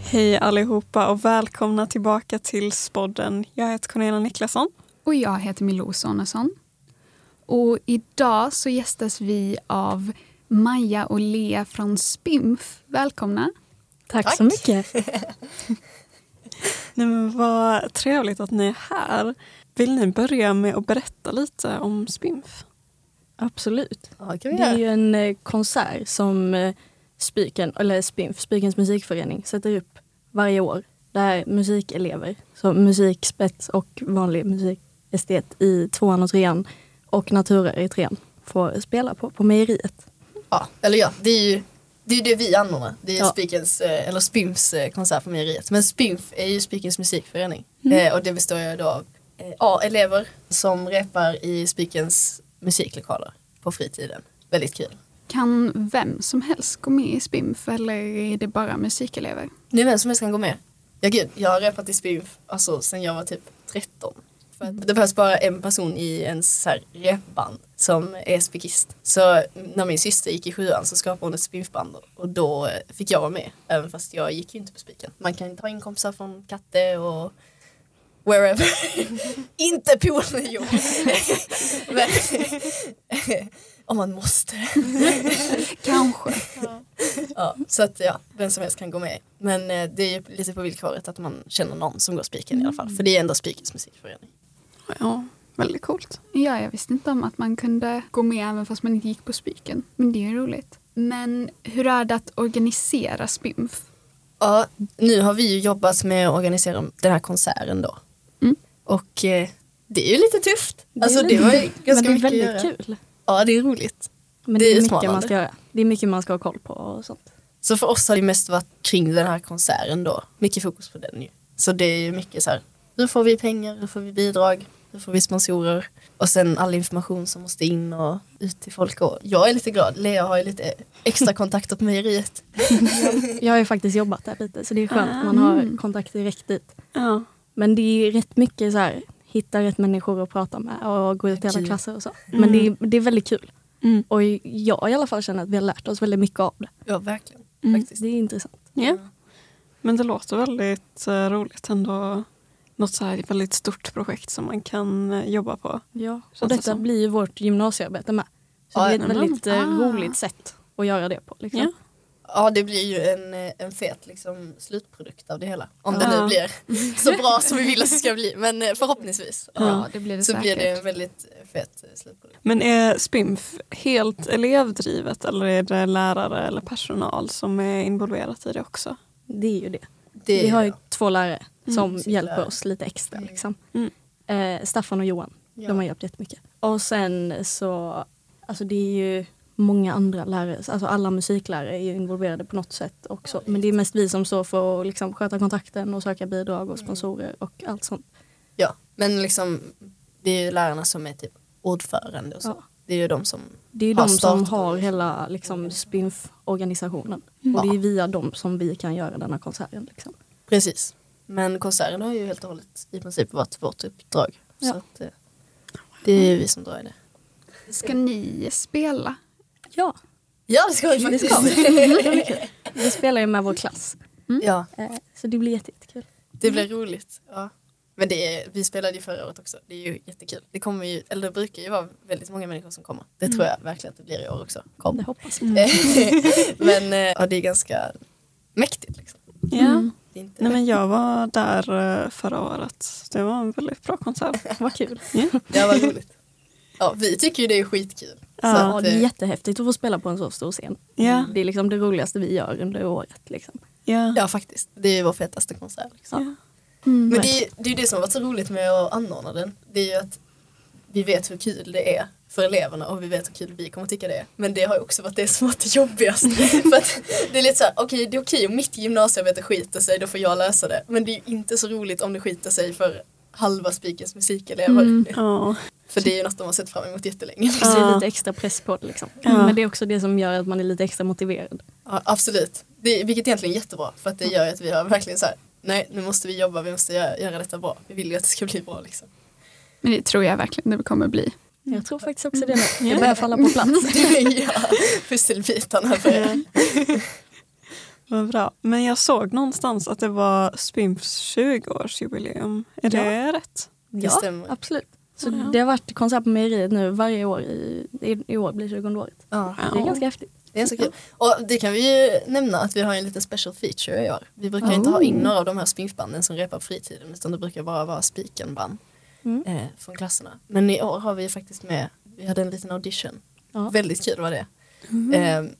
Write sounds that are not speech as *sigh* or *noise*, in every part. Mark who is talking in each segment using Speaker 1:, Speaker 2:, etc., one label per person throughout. Speaker 1: Hej allihopa och välkomna tillbaka till Spodden. Jag heter Cornelia Niklasson.
Speaker 2: Och jag heter Milou Sonesson. Och idag så gästas vi av Maja och Lea från Spimf. Välkomna!
Speaker 3: Tack, så
Speaker 4: *laughs*
Speaker 3: mycket.
Speaker 1: Nej, men vad trevligt att ni är här. Vill ni börja med att berätta lite om Spimf?
Speaker 3: Absolut.
Speaker 4: Ja, kan vi
Speaker 3: Det är
Speaker 4: göra.
Speaker 3: ju en eh, konsert som eh, Spiken, eller Spinf, Spikens musikförening sätter upp varje år. Där musikelever, så musikspets och vanlig musikestet i tvåan och trean och naturare i trean får spela på, på mejeriet.
Speaker 4: Ja, eller ja, det är ju det, är ju det vi anordnar. Det är
Speaker 3: Ja.
Speaker 4: Spikens, eh, eller Spimfs eh, konsert på mejeriet. Men Spimf är ju Spikens musikförening.
Speaker 3: Mm.
Speaker 4: Eh, och det består ju då av eh, A, elever som repar i Spikens musiklokaler på fritiden. Väldigt kul.
Speaker 2: Kan vem som helst gå med i Spimf eller är det bara musikelever?
Speaker 4: Nu är vem som helst kan gå med. Ja gud, jag har repat i Spimf alltså, sen jag var typ 13. För att det behövs bara en person i ens så här, repband som är spikist. Så när min syster gick i sjuan så skapade hon ett spimfband och då eh, fick jag vara med. Även fast jag gick ju inte på spiken. Man kan ta in kompisar från Katte och wherever. *laughs* inte poolen, *laughs* jo. Men, *laughs* om man måste.
Speaker 2: Kanske.
Speaker 4: Ja, så att ja, vem som helst kan gå med. Men eh, det är ju lite på villkoret att man känner någon som går spiken i alla fall. För det är ändå spikens musikförening.
Speaker 1: Ja, väldigt coolt.
Speaker 2: *laughs* Ja, jag visste inte om att man kunde gå med även fast man inte gick på Spiken. Men det är ju roligt. Men hur är det att organisera Spimf?
Speaker 4: Ja, nu har vi ju jobbat med att organisera den här konserten då.
Speaker 2: Mm.
Speaker 4: Och eh, det är ju lite tufft.
Speaker 3: är
Speaker 4: Alltså det
Speaker 3: lite
Speaker 4: var ju
Speaker 3: tufft,
Speaker 4: ganska
Speaker 3: Men det är
Speaker 4: mycket
Speaker 3: väldigt
Speaker 4: att göra.
Speaker 3: kul.
Speaker 4: Ja, det är roligt.
Speaker 3: Men
Speaker 4: Det
Speaker 3: det,
Speaker 4: är
Speaker 3: är mycket
Speaker 4: utmanande.
Speaker 3: man ska göra. Det är mycket man ska ha koll på och sånt.
Speaker 4: Så för oss har det mest varit kring den här konserten då. Mycket fokus på den ju. Så det är ju mycket så här, hur får vi pengar, hur får vi bidrag, hur får vi sponsorer och sen all information som måste in och ut till folk. Och jag är lite glad, Lea har ju lite extra kontakter på mejeriet.
Speaker 3: Jag har ju faktiskt jobbat där lite så det är skönt att man
Speaker 4: Mm.
Speaker 3: har kontakt direkt dit.
Speaker 1: Ja.
Speaker 3: Men det är ju rätt mycket så här, hitta rätt människor att prata med och gå ut till alla
Speaker 4: Kul.
Speaker 3: klasser och så.
Speaker 1: Mm.
Speaker 3: Men det är, det är väldigt kul.
Speaker 1: Mm.
Speaker 3: Och jag i alla fall känner att vi har lärt oss väldigt mycket av det.
Speaker 4: Ja, verkligen.
Speaker 1: Mm.
Speaker 4: Faktiskt.
Speaker 3: Det är intressant.
Speaker 1: ja. Men det låter väldigt eh, roligt ändå. Något så här väldigt stort projekt som man kan eh, jobba på.
Speaker 3: Ja.
Speaker 1: Känns
Speaker 3: Och
Speaker 1: det
Speaker 3: detta
Speaker 1: som.
Speaker 3: blir ju vårt gymnasiearbete med. Så
Speaker 4: Ja,
Speaker 3: det är ett
Speaker 1: men-
Speaker 3: väldigt eh,
Speaker 2: Ah.
Speaker 3: roligt sätt att göra det på. Liksom.
Speaker 1: Ja.
Speaker 4: Ja, det blir ju en, eh, en fet liksom, slutprodukt av det hela. Om det
Speaker 1: Ja.
Speaker 4: nu blir så bra som vi vill att det ska bli. Men eh, förhoppningsvis ja,
Speaker 2: Ja, det blir det
Speaker 4: så
Speaker 2: säkert.
Speaker 4: blir det en väldigt eh, fet eh, slutprodukt.
Speaker 1: Men är Spimf helt elevdrivet eller är det lärare eller personal som är involverat i det också?
Speaker 3: Det är ju det.
Speaker 4: Det
Speaker 3: vi har
Speaker 4: är-
Speaker 3: ju två lärare som
Speaker 4: Precis,
Speaker 3: hjälper
Speaker 4: lärare.
Speaker 3: oss lite extra.
Speaker 4: Mm.
Speaker 3: Liksom.
Speaker 1: Mm.
Speaker 3: Eh, Staffan och Johan,
Speaker 4: Ja.
Speaker 3: de har hjälpt jättemycket. Och sen så, alltså det är ju många andra lärare, alltså alla musiklärare är ju involverade på något sätt också. Men det är mest vi som står för att liksom sköta kontakten och söka bidrag och sponsorer och allt sånt.
Speaker 4: Ja, men liksom det är ju lärarna som är typ ordförande och så.
Speaker 3: Ja.
Speaker 4: Det är ju de som,
Speaker 3: Det är ju
Speaker 4: Har
Speaker 3: de som
Speaker 4: startat
Speaker 3: har
Speaker 4: liksom.
Speaker 3: hela liksom, spinf-organisationen.
Speaker 4: Ja.
Speaker 3: Och det är via dem som vi kan göra denna konserten. Liksom.
Speaker 4: precis. Men konserten har ju helt och hållet i princip varit vårt uppdrag.
Speaker 3: Ja.
Speaker 4: Så att, eh, det är ju vi som drar i det.
Speaker 2: Ska ni spela?
Speaker 3: Ja,
Speaker 4: Ja, det ska vi
Speaker 3: det ska vi. vi spelar ju med vår klass.
Speaker 4: *laughs* Ja,
Speaker 3: Eh, Så det blir jätte- jättekul.
Speaker 4: det blir roligt. Ja. Men det är, vi spelade ju förra året också. Det är ju jättekul. Det kommer ju, eller det brukar ju vara väldigt många människor som kommer. Det tror jag verkligen att det blir i år också. Kom.
Speaker 3: Mm.
Speaker 4: Mm.
Speaker 3: Det hoppas vi.
Speaker 4: men eh, ja, det är ganska mäktigt liksom.
Speaker 1: Ja.
Speaker 4: Det är inte
Speaker 1: Nej, men jag var där eh, förra året. Det var en väldigt bra konsert.
Speaker 3: Vad kul.
Speaker 4: Ja, vad roligt. Ja, vi tycker ju det är skitkul.
Speaker 1: Ja.
Speaker 4: Så
Speaker 3: Ja,
Speaker 4: att,
Speaker 3: det är
Speaker 4: eh,
Speaker 3: jättehäftigt att få spela på en så stor scen.
Speaker 1: Ja.
Speaker 3: Det är liksom det roligaste vi gör under året. Liksom.
Speaker 1: Ja.
Speaker 4: Ja faktiskt, det är vår fetaste konsert. Liksom.
Speaker 1: Ja.
Speaker 2: Mm.
Speaker 4: Men det är ju det, är ju det som har varit så roligt med att anordna den. Det är ju att vi vet hur kul det är för eleverna och vi vet hur kul vi kommer tycka det är. Men det har ju också varit det som varit
Speaker 3: *laughs*
Speaker 4: det jobbigaste. för att det är lite såhär, okej det är okej om mitt gymnasiearbete skiter sig, då får jag lösa det. Men det är ju inte så roligt om det skiter sig för halva Spikens musikelever.
Speaker 2: Mm.
Speaker 1: Ja.
Speaker 4: För det är ju något de har sett fram emot jättelänge.
Speaker 3: Så det
Speaker 1: Ja.
Speaker 3: är lite extra press på det. Liksom.
Speaker 1: Ja.
Speaker 3: Men det är också det som gör att man är lite extra motiverad.
Speaker 4: Ja, absolut. Det, vilket egentligen är jättebra för att det gör ju att vi har verkligen så här. nej nu måste vi jobba, vi måste göra, göra detta bra. Vi vill ju att det ska bli bra *laughs* liksom.
Speaker 2: Men det tror jag verkligen det kommer bli.
Speaker 4: Mm.
Speaker 3: Jag tror faktiskt också det nu.
Speaker 4: *laughs*
Speaker 3: Det börjar falla på plats.
Speaker 4: ja, pusselbitarna börjar.
Speaker 1: Vad bra. Men jag såg någonstans att det var Spimps 20-årsjubileum. Är det rätt?
Speaker 4: Det
Speaker 3: Ja,
Speaker 4: stämmer.
Speaker 3: absolut. Så
Speaker 1: Ja.
Speaker 3: det har varit konsert på mejeriet nu varje år. I, i, i år blir 20 året.
Speaker 4: Ja,
Speaker 3: Det är ganska häftigt.
Speaker 4: det är så kul. Och det kan vi ju nämna att vi har en liten special feature i år. Vi brukar ju inte ha in
Speaker 2: Oh.
Speaker 4: några av de här spinfbanden som repar på fritiden utan det brukar bara vara spikenband
Speaker 3: Mm.
Speaker 4: eh, från klasserna. Men i år har vi faktiskt med, vi hade en liten audition.
Speaker 3: Ja.
Speaker 4: Väldigt kul var det.
Speaker 3: Mm.
Speaker 4: Eh,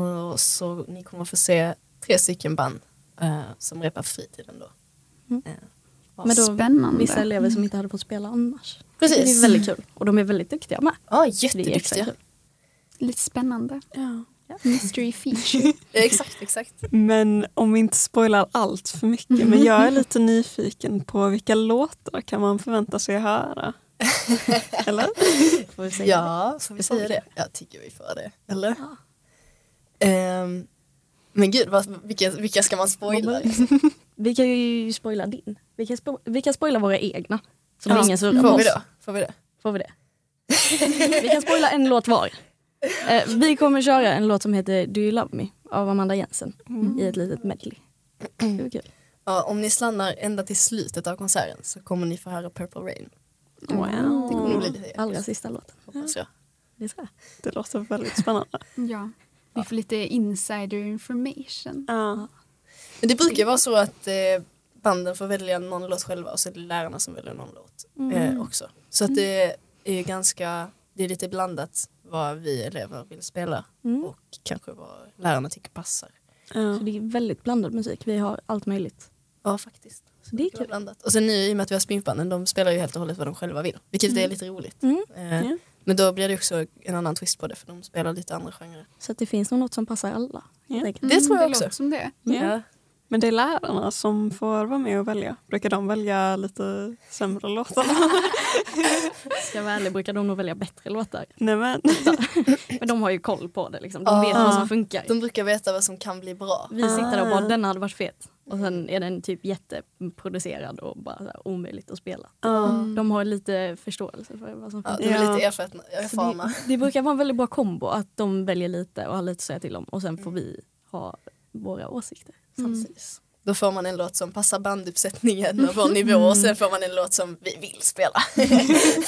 Speaker 4: och så ni kommer få se tre stycken band eh, som repar på fritiden då.
Speaker 3: Mm.
Speaker 4: Eh,
Speaker 3: Men då
Speaker 2: Spännande.
Speaker 3: Vissa elever som inte hade fått spela annars.
Speaker 4: Precis.
Speaker 3: Det är väldigt kul. Och de är väldigt duktiga med.
Speaker 4: Ja,
Speaker 3: Det är extra
Speaker 4: jätteduktiga.
Speaker 3: kul.
Speaker 2: Lite spännande.
Speaker 1: Ja.
Speaker 2: Mystery feature.
Speaker 4: Eh, Exakt, exakt.
Speaker 1: Men om vi inte spoilar allt för mycket. Men jag är lite nyfiken på vilka låtar kan man förvänta sig höra? Eller?
Speaker 3: Får vi säga.
Speaker 4: Ja, får vi säga det? Jag tycker vi får det. Eller? Ehm, men gud, vad, vilka, vilka ska man spoila? liksom?
Speaker 3: Vi kan ju spoila din. Vi kan, spo- vi kan spoila våra egna. Som
Speaker 4: Ja,
Speaker 3: ingen surrar med
Speaker 4: får vi
Speaker 3: oss.
Speaker 4: då? Får vi det?
Speaker 3: Får vi det? vi kan spoila en låt var. Eh, vi kommer köra en låt som heter Do You Love Me av Amanda Jensen i ett litet medley. Det var kul.
Speaker 4: Ja, om ni slannar ända till slutet av konserten så kommer ni få höra Purple Rain.
Speaker 1: Wow.
Speaker 4: Det kommer nog bli
Speaker 1: Det,
Speaker 4: lite episkt,
Speaker 3: Allra sista låten.
Speaker 4: hoppas jag.
Speaker 3: Det ska jag.
Speaker 1: låter väldigt spännande.
Speaker 2: Ja. Vi får lite insider information.
Speaker 1: Ja.
Speaker 4: Men det brukar vara så att eh, banden får välja någon låt själva och så är det lärarna som väljer någon låt eh, också. Så att det är ganska, det är lite blandat vad vi elever vill spela
Speaker 3: Mm.
Speaker 4: och kanske vad lärarna tycker passar.
Speaker 1: Ja.
Speaker 3: Så det är väldigt blandad musik. Vi har allt möjligt.
Speaker 4: Ja, faktiskt.
Speaker 3: Så det är
Speaker 4: Det var
Speaker 3: kul.
Speaker 4: blandat. Och sen nu i och med att vi har spinfbanden, de spelar ju helt och hållet vad de själva vill. Vilket är lite roligt.
Speaker 3: Mm.
Speaker 4: Eh,
Speaker 1: Ja.
Speaker 4: Men då blir det också en annan twist på det för de spelar lite andra genrer.
Speaker 3: Så att det finns nog något som passar alla.
Speaker 1: Ja.
Speaker 3: helt enkelt.
Speaker 4: Det tror jag
Speaker 2: Mm, det
Speaker 4: också.
Speaker 2: Låter som det.
Speaker 1: Ja. Men det är lärarna som får vara med och välja. Brukar de välja lite sämre låtar? *laughs*
Speaker 3: Ska jag vara ärlig brukar de nog välja bättre låtar.
Speaker 1: Nej men.
Speaker 3: Men de har ju koll på det liksom.
Speaker 4: Ja.
Speaker 3: De vet vad som funkar.
Speaker 4: De brukar veta vad som kan bli bra.
Speaker 3: Vi sitter där och
Speaker 1: Ah.
Speaker 3: bara den hade varit fet. Och sen är den typ jätteproducerad och bara så här, omöjligt att spela.
Speaker 2: Mm,
Speaker 1: Ja.
Speaker 3: De har lite förståelse för vad som
Speaker 4: Ja,
Speaker 3: funkar.
Speaker 4: de är
Speaker 1: Ja.
Speaker 4: lite erfarna.
Speaker 3: Så
Speaker 4: erfarna.
Speaker 3: det, det brukar vara en väldigt bra kombo att de väljer lite och har lite att säga till om och sen får vi ha våra åsikter.
Speaker 4: Precis. Då får man en låt som passar banduppsättningen och vår nivå och sen får man en låt som vi vill spela.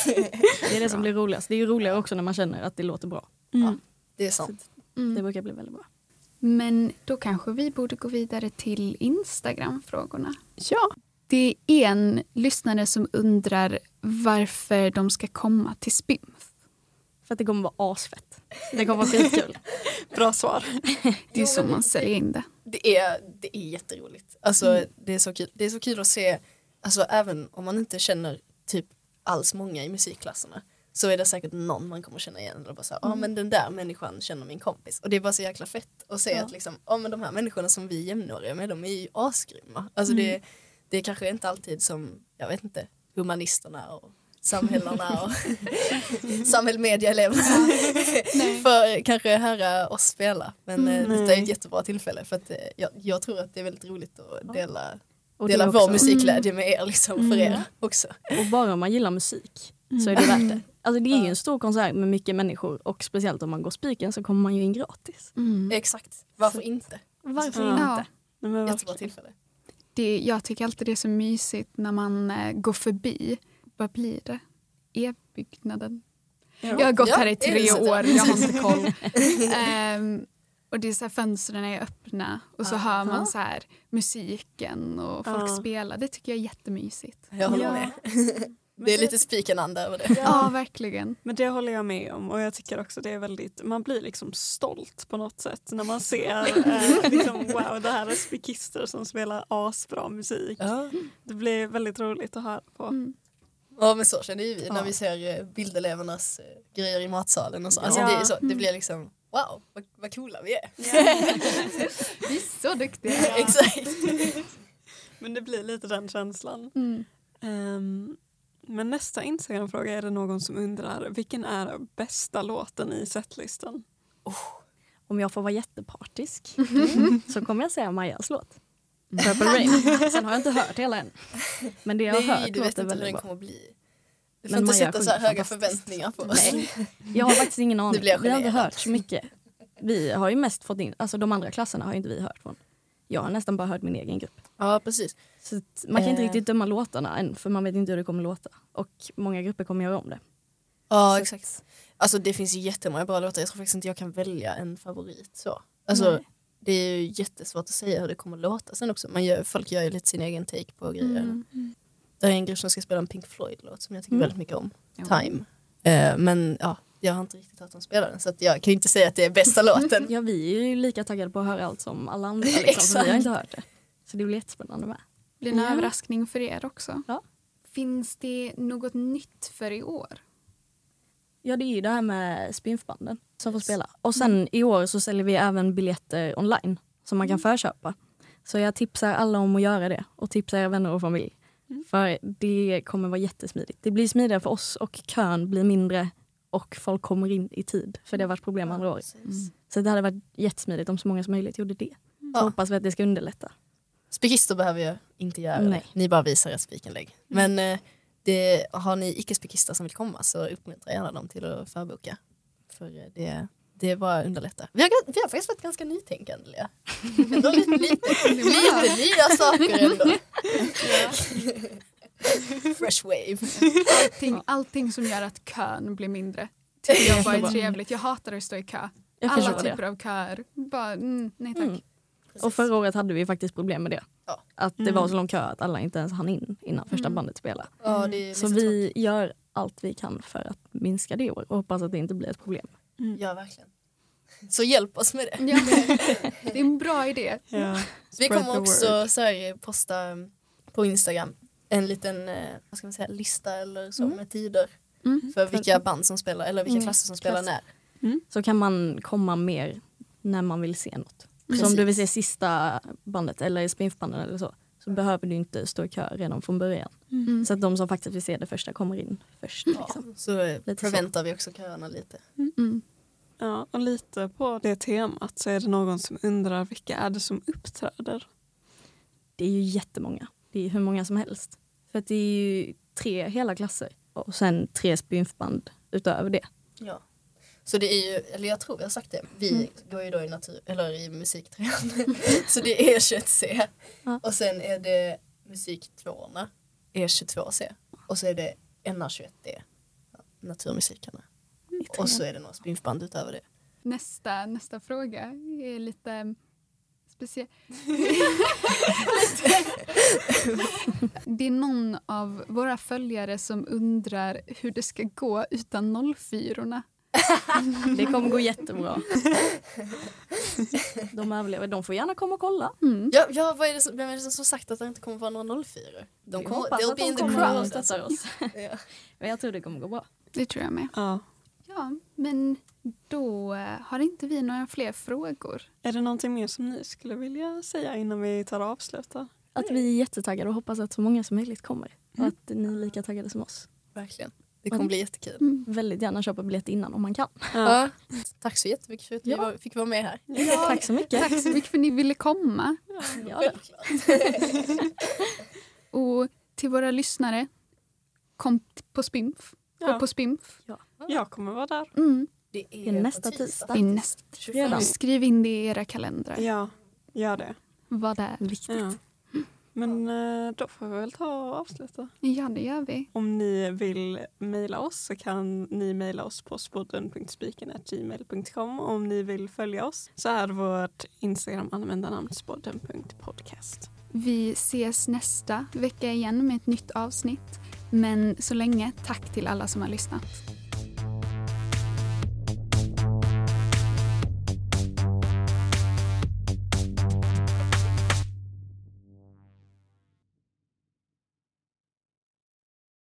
Speaker 3: Det är det som blir roligast. Det är ju roligare också när man känner att det låter bra.
Speaker 1: Mm.
Speaker 4: Det är sant.
Speaker 3: Det
Speaker 2: Mm.
Speaker 3: brukar bli väldigt bra.
Speaker 2: Men då kanske vi borde gå vidare till Instagram-frågorna.
Speaker 1: *laughs* Ja.
Speaker 2: Det är en lyssnare som undrar varför de ska komma till Spymf.
Speaker 3: För att det kommer vara asfett. Det kommer vara *laughs* skitkul.
Speaker 1: Bra svar.
Speaker 2: Det är så man säger in det.
Speaker 4: Det är, det är jätteroligt. Alltså, det, är så kul. det är så kul att se, alltså, även om man inte känner typ alls många i musikklasserna så är det säkert någon man kommer känna igen. Eller bara så här, "Ah, men den där människan känner min kompis. Och det är bara så jäkla fett att se att liksom, ah, men de här människorna som vi är jämnåriga med, de är ju asgrymma. Alltså, det, det är kanske inte alltid som, jag vet inte, humanisterna och samhällena och *laughs* samhällmediaeleverna för eh, kanske höra oss spela. Men mm, detta är
Speaker 1: Nej.
Speaker 4: ett jättebra tillfälle för att eh, jag, jag tror att det är väldigt roligt att dela,
Speaker 3: Och det
Speaker 4: dela
Speaker 3: också.
Speaker 4: vår musikglädje med er liksom, för er också.
Speaker 3: Och bara om man gillar musik så är det värt det. Alltså det är ju en stor konsert med mycket människor och speciellt om man går spiken så kommer man ju in gratis.
Speaker 2: Mm.
Speaker 4: *laughs* Exakt, varför inte?
Speaker 3: Varför
Speaker 1: Ja.
Speaker 3: inte?
Speaker 1: Nej, men
Speaker 4: Jättebra
Speaker 1: verkligen.
Speaker 4: tillfälle.
Speaker 2: det. Jag tycker alltid det är så mysigt när man eh, går förbi. Vad blir det? E-byggnaden. Jag har gått
Speaker 4: Ja,
Speaker 2: här i
Speaker 4: är det
Speaker 2: tre
Speaker 4: så?
Speaker 2: år, jag har inte koll. Ehm, och det är så här, fönstren är öppna och så hör man så här musiken och folk
Speaker 1: Ja.
Speaker 2: spelar. Det tycker jag är jättemysigt.
Speaker 4: *laughs* Jag håller
Speaker 1: Ja.
Speaker 4: med. *laughs* Det är lite spikenanda över det.
Speaker 2: Ja, verkligen.
Speaker 1: Men det håller jag med om och jag tycker också det är väldigt, man blir liksom stolt på något sätt när man ser
Speaker 4: *laughs*
Speaker 1: eh, liksom, wow det här är spikister som spelar asbra musik.
Speaker 4: Ja.
Speaker 1: Det blir väldigt roligt att höra på.
Speaker 2: Mm.
Speaker 4: Ja men så känner ju vi när vi ser eh, bildelevernas eh, grejer i matsalen och så. Alltså,
Speaker 1: Ja.
Speaker 4: det, är så det blir liksom wow vad, vad coola vi är.
Speaker 2: Vi är så duktiga.
Speaker 4: *laughs* Exakt.
Speaker 1: Men det blir lite den känslan.
Speaker 2: Mm.
Speaker 1: Ehm, men nästa Instagram-fråga är det någon som undrar vilken är bästa låten i setlistan?
Speaker 3: Om jag får vara jättepartisk
Speaker 4: Mhm.
Speaker 3: så kommer jag säga Majas låt.
Speaker 4: Mm.
Speaker 3: Purple Rain.
Speaker 4: *laughs*
Speaker 3: Sen har jag inte hört hela än. Men det jag har
Speaker 4: Nej
Speaker 3: hört
Speaker 4: du vet
Speaker 3: låter
Speaker 4: inte hur den
Speaker 3: väldigt bra.
Speaker 4: kommer bli. Du får
Speaker 3: Men
Speaker 4: inte
Speaker 3: Maja
Speaker 4: sätta så här
Speaker 3: sjunger
Speaker 4: höga
Speaker 3: fantastiskt.
Speaker 4: förväntningar på oss.
Speaker 3: Nej, jag har faktiskt ingen aning.
Speaker 4: blir jag
Speaker 3: Vi har inte
Speaker 4: generad.
Speaker 3: hört så mycket. Vi har ju mest fått in, alltså de andra klasserna har ju inte vi hört från. jag har nästan bara hört min egen grupp.
Speaker 4: *laughs* Ja, precis.
Speaker 3: *laughs* Så att man kan inte
Speaker 4: Eh.
Speaker 3: riktigt döma låtarna än för man vet inte hur det kommer låta. Och många grupper kommer göra om det.
Speaker 4: Ja,
Speaker 3: Så-
Speaker 4: exakt. Alltså det finns ju jättemånga bra låtar. Jag tror faktiskt inte jag kan välja en favorit så. Alltså
Speaker 3: Nej.
Speaker 4: det är ju jättesvårt att säga hur det kommer låta sen också. Man gör, folk gör ju lite sin egen take på grejer.
Speaker 2: Mm.
Speaker 4: Det är en grupp som ska spela en Pink Floyd-låt som jag tycker
Speaker 3: Mm.
Speaker 4: väldigt mycket om.
Speaker 2: Jo.
Speaker 4: Time. Eh, men ja, jag har inte riktigt hört dem spela den så att jag kan ju inte säga att det
Speaker 3: *laughs*
Speaker 4: är bästa låten.
Speaker 3: Ja, vi är ju lika taggade på att höra allt som alla andra. Liksom, för vi har
Speaker 4: *laughs*
Speaker 3: inte hört det. Så det blir jättespännande med.
Speaker 2: blir en
Speaker 3: Ja.
Speaker 2: överraskning för er också.
Speaker 3: Ja.
Speaker 2: Finns det något nytt för i år?
Speaker 3: Ja, det är ju det här med spinfbanden som får spela. Och sen i år så säljer vi även biljetter online som
Speaker 2: Mm.
Speaker 3: man kan förköpa. Så jag tipsar alla om att göra det och tipsar era vänner och familj.
Speaker 2: Mm.
Speaker 3: För det kommer vara jättesmidigt. Det blir smidigare för oss och kön blir mindre och folk kommer in i tid. För det har varit problem andra år.
Speaker 4: Precis.
Speaker 3: Så det hade varit jättesmidigt om så många som möjligt gjorde det. Så
Speaker 2: Mm.
Speaker 4: Ja.
Speaker 3: hoppas vi att det ska underlätta.
Speaker 4: Spikister behöver jag inte göra
Speaker 3: Nej. Mm.
Speaker 4: det. Ni bara visar ert spikenlägg. Men eh, det, har ni icke-spikister som vill komma så uppmuntra gärna dem till att förboka. För eh, det, det är bara underlätta. Vi har, vi har faktiskt varit ganska
Speaker 3: *laughs*
Speaker 4: nytänkande Lea. Ändå lite, *laughs* lite, lite nya saker ändå. Fresh wave.
Speaker 2: Allting, allting som gör att kön blir mindre tycker jag bara är trevligt. Jag hatar att stå i kö.
Speaker 3: Jag
Speaker 2: Alla
Speaker 3: förstår
Speaker 2: typer
Speaker 3: det.
Speaker 2: av köer. Bara, mm, nej tack.
Speaker 3: Mm. *laughs* Och förra året hade vi faktiskt problem med det.
Speaker 4: Ja.
Speaker 3: Att det
Speaker 2: Mm.
Speaker 3: var så lång kö att alla inte ens hann in innan första bandet spelade.
Speaker 4: Ja, det är
Speaker 3: Så
Speaker 4: lite
Speaker 3: vi gör allt vi kan för att minska det i år och hoppas att det inte blir ett problem.
Speaker 1: Mm.
Speaker 4: tråkigt. Ja, verkligen. Så hjälp oss med det.
Speaker 3: Mm.
Speaker 2: Ja,
Speaker 3: *laughs*
Speaker 2: men, det är en bra idé.
Speaker 1: Ja.
Speaker 4: Vi
Speaker 1: Spread
Speaker 4: kommer
Speaker 1: the
Speaker 4: också
Speaker 1: word.
Speaker 4: så här, posta um, på Instagram en liten eh, vad ska man säga, lista eller så med tider
Speaker 2: Mm.
Speaker 4: för vilka band som spelar eller
Speaker 3: Mm,
Speaker 4: vilka klasser som spelar när.
Speaker 1: Mm.
Speaker 3: Så kan man komma mer när man vill se något. Så om
Speaker 4: Precis.
Speaker 3: du vill se sista bandet eller spinfbanden eller så så behöver du inte stå i kö redan från början.
Speaker 2: Mm.
Speaker 3: Så att de som faktiskt vill se det första kommer in först.
Speaker 4: Ja,
Speaker 3: Liksom.
Speaker 4: så eh,
Speaker 3: Lite
Speaker 4: förväntar vi också köerna lite.
Speaker 2: Mm.
Speaker 1: Ja, och lite på det temat så är det någon som undrar vilka är det som uppträder?
Speaker 3: Det är ju jättemånga. Det är hur många som helst. För att det är ju tre hela klasser och sen tre spinfband utöver det.
Speaker 4: Ja. Så det är ju, eller jag tror vi har sagt det, vi
Speaker 3: Mm.
Speaker 4: går ju då i, natur, eller i musiktrean. *laughs* så det är E21C
Speaker 3: Ja.
Speaker 4: och sen är det musiktvåorna, E22C och så är det NR21D, naturmusikerna. Och så är det några spinfband utöver det.
Speaker 2: Nästa, nästa fråga är lite speciell. *laughs* det är någon av våra följare som undrar hur det ska gå utan 04
Speaker 3: Det kommer gå
Speaker 4: *laughs*
Speaker 3: jättebra. De överlever. De får gärna komma och kolla.
Speaker 2: mm.
Speaker 4: Ja, ja vad är det som, vem är det som har sagt att det inte kommer vara några 04? De
Speaker 3: Vi
Speaker 4: kommer,
Speaker 3: hoppas
Speaker 4: they'll
Speaker 3: att
Speaker 4: be in the
Speaker 3: kommer och
Speaker 4: crowd.
Speaker 3: stöttar
Speaker 4: Alltså.
Speaker 3: oss.
Speaker 4: *laughs*
Speaker 3: Mm.
Speaker 4: Ja.
Speaker 3: *laughs* Men jag tror det kommer gå bra.
Speaker 2: Det tror jag med.
Speaker 1: Ja.
Speaker 2: Ja, men då har inte vi några fler frågor.
Speaker 1: Är det någonting mer som ni skulle vilja säga innan vi tar och avslutar?
Speaker 3: Att vi är jättetaggade och hoppas att så många som möjligt kommer. Och att ni är lika taggade som oss.
Speaker 4: Verkligen. Det kommer bli jättekul.
Speaker 3: Väldigt gärna köpa biljett innan om man kan.
Speaker 4: Ja. Tack så jättemycket för att vi
Speaker 3: Ja.
Speaker 4: var, fick vara med här.
Speaker 3: Tack så mycket.
Speaker 2: Tack så mycket för att ni ville komma.
Speaker 3: Ja, då.
Speaker 2: Och till våra lyssnare, kom t- på Spimf.
Speaker 1: Ja.
Speaker 2: Och på Spimf.
Speaker 1: Jag kommer vara där.
Speaker 2: Mm.
Speaker 4: Det
Speaker 3: Det är nästa tisdag.
Speaker 2: Det är nästa.
Speaker 4: 25.
Speaker 3: Redan.
Speaker 2: Skriv in det i era kalendrar.
Speaker 1: Ja, gör det.
Speaker 2: Var där.
Speaker 1: Ja. Men eh, då får vi väl ta och avsluta.
Speaker 2: Ja, det gör vi.
Speaker 1: Om ni vill mejla oss så kan ni mejla oss på spodden.spiken.gmail.com och om ni vill följa oss så är vårt Instagram-användarnamn spodden.podcast.
Speaker 2: Vi ses nästa vecka igen med ett nytt avsnitt. Men så länge, tack till alla som har lyssnat.